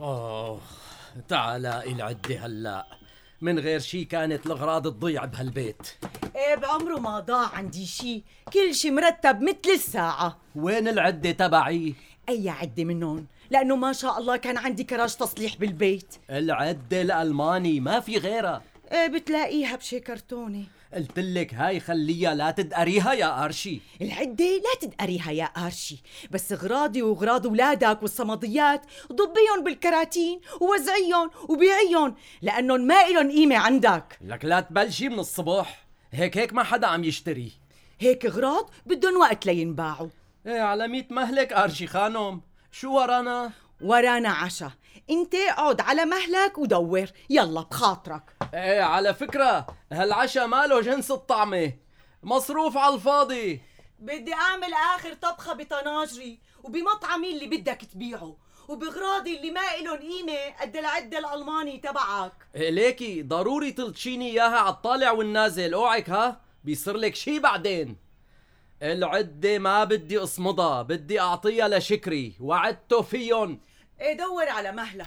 أوه تعال إلى عدي هلا من غير شي كانت الأغراض تضيع بهالبيت ايه بعمره ما ضاع عندي شي كل شي مرتب مثل الساعة وين العدة تبعي؟ أي عدة منهم لأنه ما شاء الله كان عندي كراج تصليح بالبيت العدة الألماني ما في غيرها ايه بتلاقيها بشي كرتونة قلت لك هاي خليها لا تدقريها يا أرشي العدة لا تدقريها يا أرشي بس غراضي وغراض ولادك والصمديات ضبيهم بالكراتين ووزعيهم وبيعيهم لأنهم ما إلهم قيمة عندك لك لا تبلشي من الصبح هيك هيك ما حدا عم يشتري هيك غراض بدهم وقت لينباعوا ايه على ميت مهلك أرشي خانم شو ورانا؟ ورانا عشا انت اقعد على مهلك ودور يلا بخاطرك ايه على فكرة هالعشاء ماله جنس الطعمة مصروف على الفاضي بدي اعمل اخر طبخه بطناجري وبمطعمي اللي بدك تبيعه وبغراضي اللي ما إلهم قيمة قد العدة الألماني تبعك إيه ليكي ضروري تلتشيني إياها على الطالع والنازل أوعك ها بيصير لك شي بعدين العدة ما بدي أصمدها بدي أعطيها لشكري وعدته فيهم ايه دور على مهلك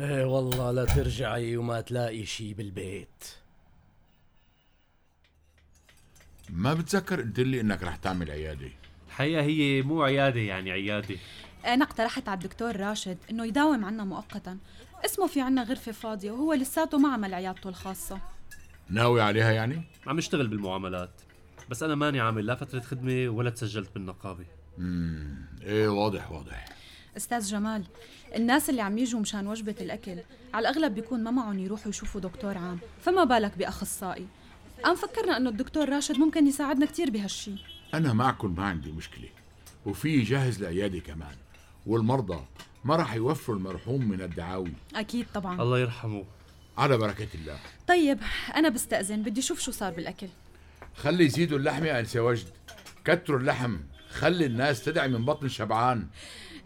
ايه والله لا ترجعي وما تلاقي شي بالبيت ما بتذكر قلت لي انك رح تعمل عياده الحقيقة هي مو عيادة يعني عيادة أنا اقترحت على الدكتور راشد إنه يداوم عنا مؤقتا اسمه في عنا غرفة فاضية وهو لساته ما عمل عيادته الخاصة ناوي عليها يعني عم اشتغل بالمعاملات بس أنا ماني عامل لا فترة خدمة ولا تسجلت بالنقابة ايه واضح واضح أستاذ جمال الناس اللي عم يجوا مشان وجبة الأكل على الأغلب بيكون ما معهم يروحوا يشوفوا دكتور عام فما بالك بأخصائي قام فكرنا إنه الدكتور راشد ممكن يساعدنا كتير بهالشي انا معكم ما عندي مشكله وفي جاهز العياده كمان والمرضى ما راح يوفروا المرحوم من الدعاوي أكيد طبعا الله يرحمه على بركه الله طيب أنا بستأذن بدي أشوف شو صار بالأكل خلي يزيدوا اللحمه يا انسي وجد كتروا اللحم خلي الناس تدعي من بطن شبعان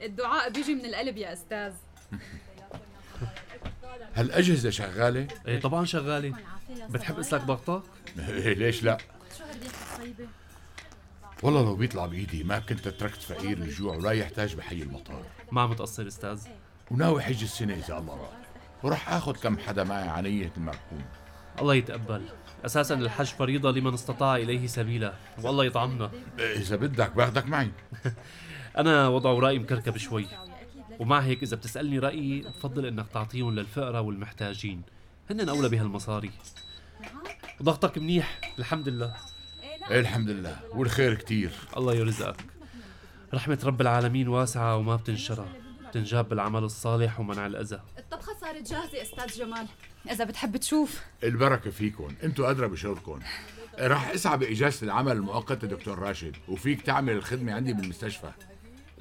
الدعاء بيجي من القلب يا أستاذ هالاجهزه شغاله ايه طبعا شغالة بتحب اسلك ضغطك؟ إيه، ليش لا شو هديتك الطيبة؟ والله لو بيطلع بايدي ما كنت تركت فقير الجوع ولا يحتاج بحي المطار ما عم تقصر أستاذ وناوي حج السنه اذا الله راد وراح اخذ كم حدا معي عنية المرحوم الله يتقبل أساسا الحج فريضة لمن استطاع إليه سبيلا والله يطعمنا إيه، اذا بدك باخدك معي أنا وضع رأيي مكركب شوي ومع هيك إذا بتسألني رأيي بفضل إنك تعطيهم للفقراء والمحتاجين هن أولى بهالمصاري ضغطك منيح الحمد لله إيه الحمد لله والخير كتير الله يرزقك رحمة رب العالمين واسعة وما بتنشرها بتنجاب بالعمل الصالح ومنع الأذى الطبخة صارت جاهزة أستاذ جمال إذا بتحب تشوف البركة فيكم انتوا أدرى بشغلكم راح اسعى بإجازة العمل المؤقتة دكتور راشد وفيك تعمل الخدمة عندي بالمستشفى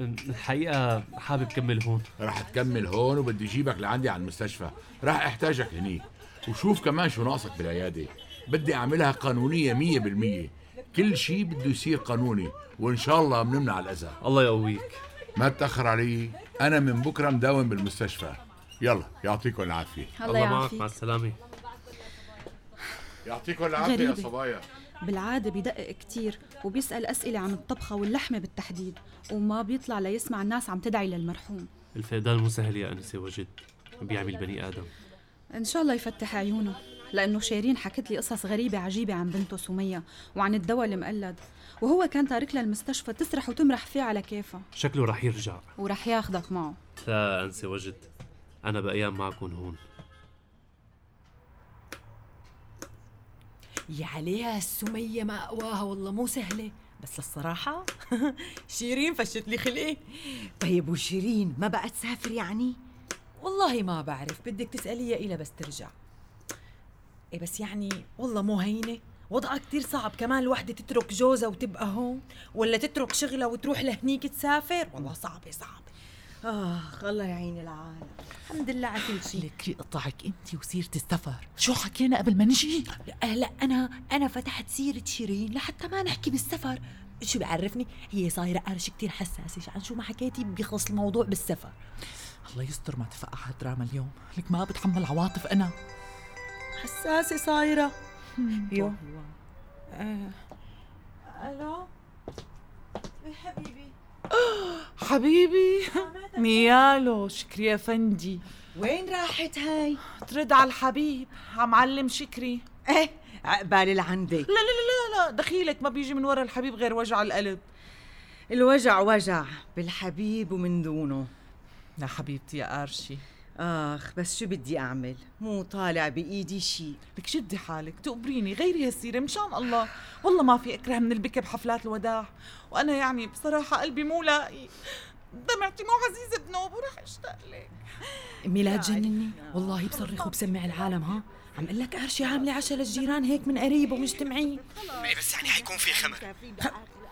الحقيقة حابب كمل هون راح تكمل هون وبدي جيبك لعندي على المستشفى راح احتاجك هنيك وشوف كمان شو ناقصك بالعيادة بدي أعملها قانونية مية بالمية كل شيء بده يصير قانوني وإن شاء الله بنمنع الأذى الله يقويك ما تأخر علي أنا من بكرة مداوم بالمستشفى يلا يعطيكم العافية الله معك مع يعافيك السلامة يعطيكم العافية يا غريبة. صبايا بالعادة بدقق كتير وبيسأل أسئلة عن الطبخة واللحمة بالتحديد وما بيطلع ليسمع الناس عم تدعي للمرحوم الفقدان مو سهل يا أنسة وجد بيعمل بني آدم إن شاء الله يفتح عيونه لأنه شيرين حكت لي قصص غريبة عجيبة عن بنته سمية وعن الدواء المقلد وهو كان تارك لها المستشفى تسرح وتمرح فيه على كيفها شكله رح يرجع ورح ياخدك معه لا أنسة وجد أنا بأيام معكم هون يا عليها السمية ما أقواها والله مو سهلة بس الصراحة شيرين فشت لي خلقي طيب وشيرين ما بقى تسافر يعني؟ والله ما بعرف بدك تسأليها إلى بس ترجع إيه بس يعني والله مو هينة وضعها كتير صعب كمان الوحدة تترك جوزها وتبقى هون ولا تترك شغلها وتروح لهنيك تسافر والله صعبة صعبة آخ الله يعين العالم الحمد لله على كل شيء لك اقطعك انت وسيره السفر شو حكينا قبل ما نجي هلا انا انا فتحت سيره شيرين لحتى ما نحكي بالسفر شو بعرفني هي صايره قرش كتير حساسه عن شو ما حكيتي بيخلص الموضوع بالسفر الله يستر ما تفقع هالدراما اليوم لك ما بتحمل عواطف انا حساسه صايره يو آه، الو يا حبيبي حبيبي نيالو شكري يا فندي وين راحت هاي؟ ترد على الحبيب عم علم شكري ايه عقبال العندي لا لا لا لا لا دخيلك ما بيجي من ورا الحبيب غير وجع القلب الوجع وجع بالحبيب ومن دونه يا حبيبتي يا قارشي اخ بس شو بدي اعمل مو طالع بايدي شيء لك شدي حالك تقبريني غيري هالسيرة مشان الله والله ما في أكره من البكي بحفلات الوداع وأنا يعني بصراحة قلبي مو لاقي دمعتي مو عزيزة بنوب وراح أشتاق لك امي لا تجنني والله بصرخ وبسمع العالم ها عم اقول لك قرشي عامله عشاء للجيران هيك من قريب ومجتمعين بس يعني حيكون في خمر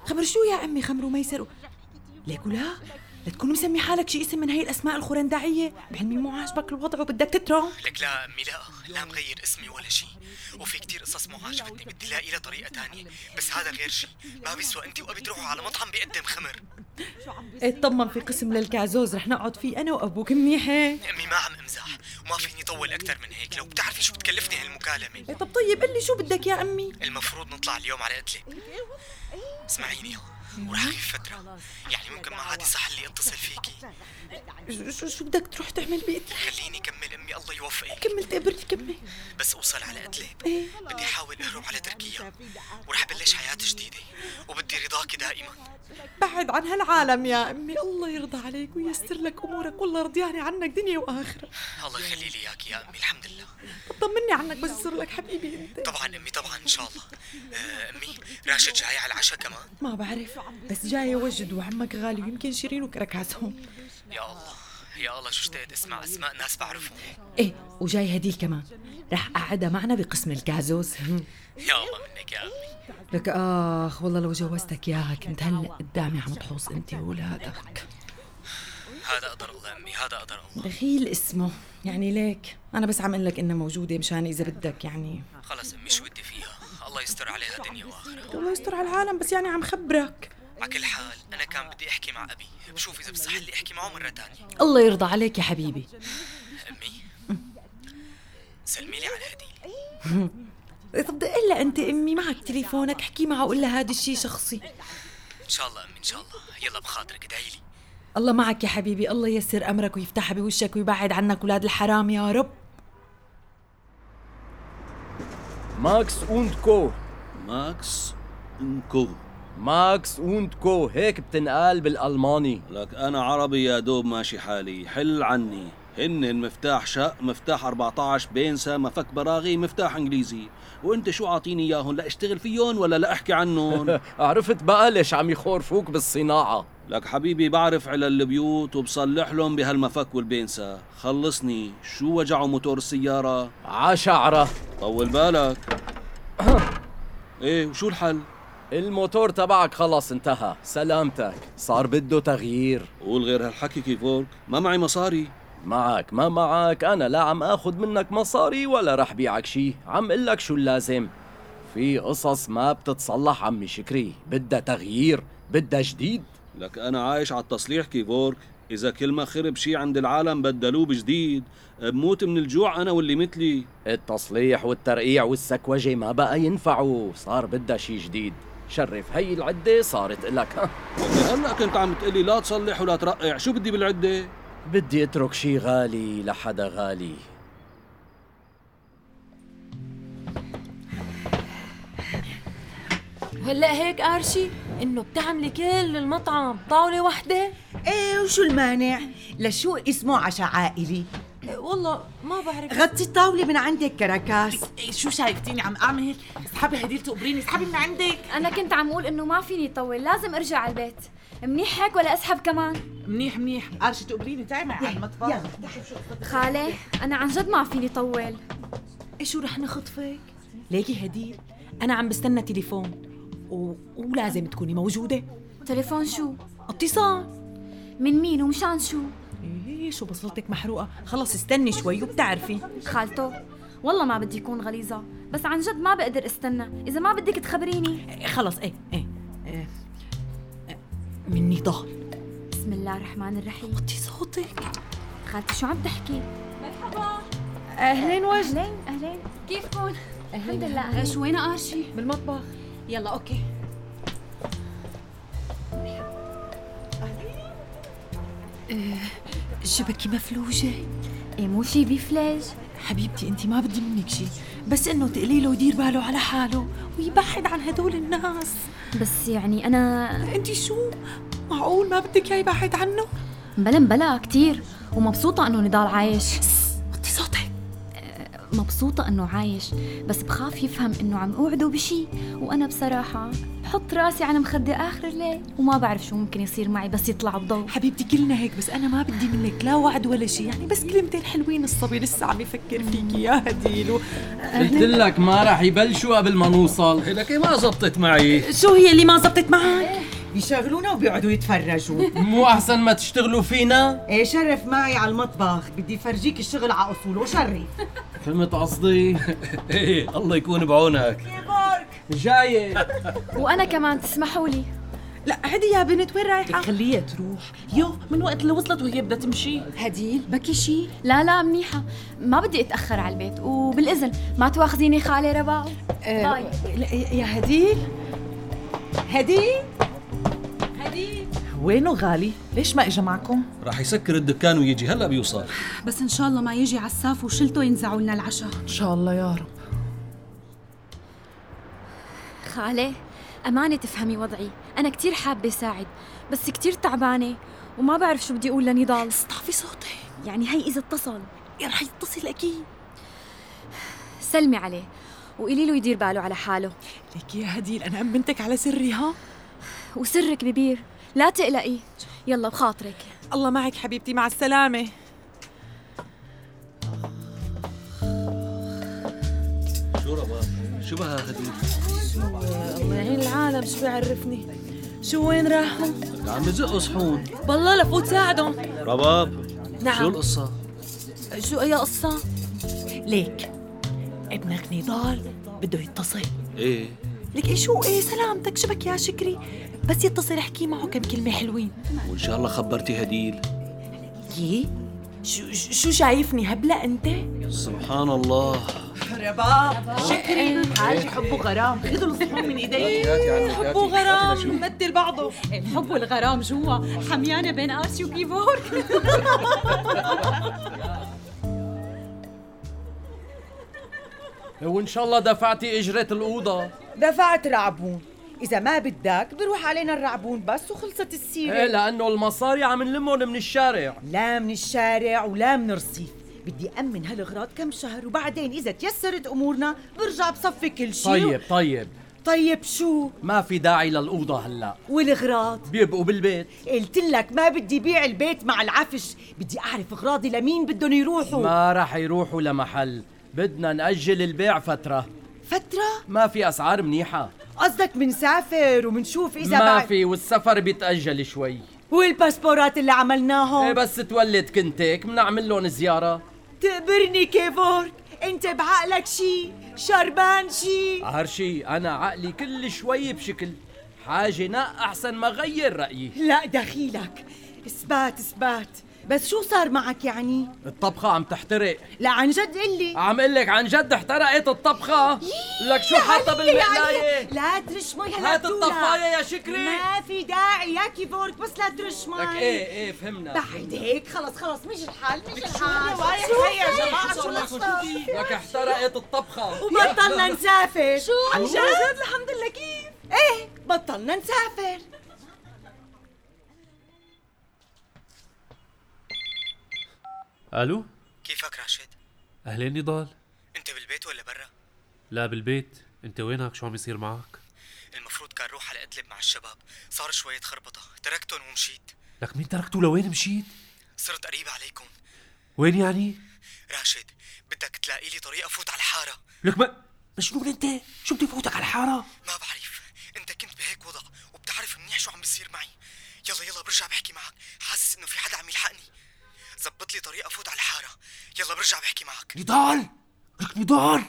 خمر شو يا عمي خمر وميسر و- ليك ولا لا تكون مسمي حالك شي اسم من هي الاسماء الخرندعيه بعلمي مو عاجبك الوضع وبدك تترك لك لا امي لا لا مغير اسمي ولا شيء وفي كتير قصص مو عاجبتني بدي لاقي لها طريقه تانية بس هذا غير شيء ما بيسوى انت وابي تروحوا على مطعم بيقدم خمر اطمن إيه، في قسم للكعزوز رح نقعد فيه انا وابوك منيحه امي ما عم امزح وما فيني طول اكثر من هيك لو بتعرفي شو بتكلفني هالمكالمه طب طيب قل لي شو بدك يا عمي المفروض نطلع اليوم على قتله اسمعيني وراح اغيب فتره يعني ممكن ما عاد يصح لي اتصل فيكي شو- شو شو بدك تروح تعمل بقتلي خليني كمل امي الله يوفقك كمل تقبري كمل بس اوصل على قتلة بدي احاول اهرب على تركيا ورح بلش حياة جديدة وبدي رضاكي دائما بعد عن هالعالم يا امي الله يرضى عليك وييسر لك امورك والله رضياني عنك دنيا واخره الله يخلي لي اياك يا امي الحمد لله طمني عنك بس يصير لك حبيبي انت طبعا امي طبعا ان شاء الله آه، امي راشد جاي على العشاء كمان ما بعرف بس جاي وجد وعمك غالي ويمكن شيرين وكركعزهم يا الله يا الله شو اشتقت اسمع اسماء ناس بعرفهم ايه وجاي هديل كمان رح قعدها معنا بقسم الكعزوز يا الله منك يا امي لك اخ والله لو جوزتك اياها كنت هلا قدامي عم تحوص انت واولادك هذا قدر الله امي هذا قدر الله دخيل اسمه يعني ليك انا بس عم اقول لك انها موجوده مشان اذا بدك يعني خلص امي شو بدي فيها الله يستر عليها دنيا واخره الله يستر على العالم بس يعني عم خبرك على كل حال انا كان بدي احكي مع ابي بشوف اذا بصح لي احكي معه مره ثانيه الله يرضى عليك يا حبيبي امي سلمي لي على هديل طب دق لها انت امي معك تليفونك احكي معها وقول لها هذا الشيء شخصي ان شاء الله امي ان شاء الله يلا بخاطرك ادعي لي الله معك يا حبيبي الله ييسر امرك ويفتح بوشك ويبعد عنك ولاد الحرام يا رب ماكس اوند كو ماكس انكو ماكس اوند كو هيك بتنقال بالالماني لك انا عربي يا دوب ماشي حالي حل عني هن مفتاح شق مفتاح 14 بينسى مفك براغي مفتاح انجليزي وانت شو عاطيني اياهم لا اشتغل فيهم ولا لا احكي عنهم عرفت بقى ليش عم يخورفوك بالصناعه لك حبيبي بعرف على البيوت وبصلح لهم بهالمفك والبينسى خلصني شو وجعوا موتور السياره عشعره طول بالك ايه وشو الحل الموتور تبعك خلص انتهى سلامتك صار بده تغيير قول غير هالحكي كيفورك ما معي مصاري معك ما معك انا لا عم اخذ منك مصاري ولا رح بيعك شي عم قلك شو اللازم في قصص ما بتتصلح عمي شكري بدها تغيير بدها جديد لك انا عايش على التصليح كيفورك اذا كل ما خرب شي عند العالم بدلوه بجديد بموت من الجوع انا واللي مثلي التصليح والترقيع والسكوجة ما بقى ينفعوا صار بدها شي جديد شرف هي العدة صارت لك هلا كنت عم تقلي لا تصلح ولا ترقع شو بدي بالعده بدي اترك شي غالي لحدا غالي وهلا هيك قارشي انه بتعملي كل المطعم طاوله واحده ايه وشو المانع؟ لشو اسمه عشاء عائلي؟ إيه والله ما بعرف غطي الطاولة من عندك كراكاس إيه شو شايفتيني عم أعمل هيك اسحبي هديل تقبريني اسحبي من عندك انا كنت عم اقول انه ما فيني طول لازم ارجع على البيت منيح هيك ولا اسحب كمان منيح منيح قرشي تقبريني تعي معي على المطبخ خاله انا عن جد ما فيني طول إيه شو رح نخطفك ليكي هديل انا عم بستنى تليفون و... ولازم تكوني موجوده تليفون شو اتصال من مين ومشان شو إيه، ايه شو بصلتك محروقه خلص استني شوي وبتعرفي خالته والله ما بدي اكون غليظه بس عن جد ما بقدر استنى اذا ما بدك تخبريني إيه خلص ايه ايه, إيه. إيه. من نضال بسم الله الرحمن الرحيم وطي صوتك خالتي شو عم تحكي مرحبا اهلين وجهين اهلين كيفكم؟ الحمد لله أهلين. ايش وين قارشي؟ بالمطبخ يلا اوكي شبكي إيه، مفلوجة ايه مو شي بيفلج حبيبتي انت ما بدي منك شيء بس انه تقولي له يدير باله على حاله ويبعد عن هدول الناس بس يعني انا انت شو معقول ما بدك اياه يبعد عنه بلا بلا كتير ومبسوطة انه نضال عايش أه، وطي صوتك مبسوطة انه عايش بس بخاف يفهم انه عم اوعده بشي وانا بصراحة بحط راسي على مخدة اخر الليل وما بعرف شو ممكن يصير معي بس يطلع بضوء حبيبتي كلنا هيك بس انا ما بدي منك لا وعد ولا شيء يعني بس كلمتين حلوين الصبي لسه عم يفكر فيكي يا هديل و... قلت لك ما راح يبلشوا قبل ما إيه، نوصل لك ما زبطت معي شو هي اللي ما زبطت معك بيشغلونا وبيقعدوا يتفرجوا مو احسن ما تشتغلوا فينا ايه شرف معي على المطبخ بدي فرجيك الشغل على اصوله شرف فهمت قصدي ايه الله يكون بعونك جاية وانا كمان تسمحوا لي لا عدي يا بنت وين رايحة؟ خليها تروح يو من وقت اللي وصلت وهي بدها تمشي هديل بكي شي لا لا منيحة ما بدي اتأخر على البيت وبالإذن ما تواخذيني خالي رباو باي آه، يا هديل هديل هديل وينه غالي؟ ليش ما اجى معكم؟ راح يسكر الدكان ويجي هلا بيوصل بس ان شاء الله ما يجي عساف وشلته ينزعوا لنا العشاء ان شاء الله يا رب خالي أمانة تفهمي وضعي أنا كتير حابة ساعد بس كتير تعبانة وما بعرف شو بدي أقول لنضال طفي صوتك يعني هي إذا اتصل رح يتصل اكيد سلمي عليه وقولي له يدير باله على حاله لك يا هديل انا امنتك على سري ها وسرك ببير لا تقلقي يلا بخاطرك الله معك حبيبتي مع السلامه شو ربا شو بها هدول الله يعين العالم شو بيعرفني شو وين راحوا؟ عم بزقوا صحون بالله لفوت ساعدهم رباب نعم. شو القصة؟ شو اي قصة؟ ليك ابنك نضال بده يتصل ايه لك ايه شو ايه سلامتك شبك يا شكري بس يتصل احكي معه كم كلمه حلوين وان شاء الله خبرتي هديل يي شو شو شو شايفني هبله انت سبحان الله رباب شكري حاجة حبه غرام خذوا الصحون من ايديك حب وغرام مثل بعضه الحب إيه، والغرام جوا حميانه بين ارشي وكيفور وان شاء الله دفعتي اجرة الاوضة دفعت رعبون إذا ما بدك بروح علينا الرعبون بس وخلصت السيرة ايه لانه المصاري عم نلمهم من الشارع لا من الشارع ولا من الرصيف بدي أمن هالغراض كم شهر وبعدين إذا تيسرت أمورنا برجع بصفي كل شيء طيب طيب طيب شو؟ ما في داعي للأوضة هلا والغراض بيبقوا بالبيت قلت لك ما بدي بيع البيت مع العفش بدي أعرف غراضي لمين بدهم يروحوا ما رح يروحوا لمحل بدنا نأجل البيع فترة فترة؟ ما في أسعار منيحة قصدك بنسافر وبنشوف إذا ما بعد- في والسفر بيتأجل شوي والباسبورات اللي ايه عملناهم بس تولد كنتك بنعمل لهم زيارة تقبرني كيفورك انت بعقلك شي شربان شي هرشي أنا عقلي كل شوي بشكل حاجة نا أحسن ما غير رأيي لا دخيلك اثبات اثبات بس شو صار معك يعني؟ الطبخة عم تحترق لا عن جد قلي عم لك عن جد احترقت الطبخة لك شو حاطة بالمقلاية يعني. لا ترش مي هلا هات بتولع. الطفاية يا شكري ما في داعي يا كيفورك بس لا ترش مي لك ايه ايه فهمنا بعد هيك خلص خلص مش الحال مش شو الحال رايح هي يا جماعة؟ شو الأخبار؟ لك احترقت الطبخة وبطلنا نسافر شو؟ عن جد الحمد لله كيف ايه بطلنا نسافر الو كيفك راشد؟ اهلين نضال انت بالبيت ولا برا؟ لا بالبيت انت وينك شو عم يصير معك المفروض كان روح على ادلب مع الشباب صار شوية خربطة تركتهم ومشيت لك مين تركته لوين مشيت صرت قريبة عليكم وين يعني راشد بدك تلاقي لي طريقة فوت على الحارة لك ما مجنون انت شو بدي فوتك على الحاره ما بعرف انت كنت بهيك وضع وبتعرف منيح شو عم بيصير معي يلا يلا برجع بحكي معك حاسس انه في حدا عم يلحقني زبط لي طريقة فوت على الحارة يلا برجع بحكي معك نضال لك نضال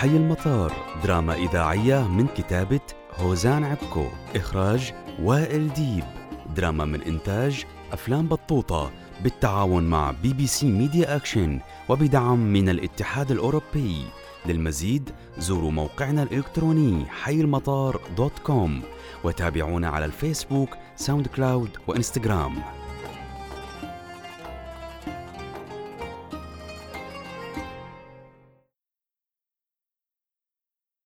حي المطار دراما إذاعية من كتابة هوزان عبكو إخراج وائل ديب دراما من إنتاج أفلام بطوطة بالتعاون مع بي بي سي ميديا أكشن وبدعم من الاتحاد الأوروبي للمزيد زوروا موقعنا الإلكتروني حي المطار دوت كوم وتابعونا على الفيسبوك ساوند كلاود وإنستغرام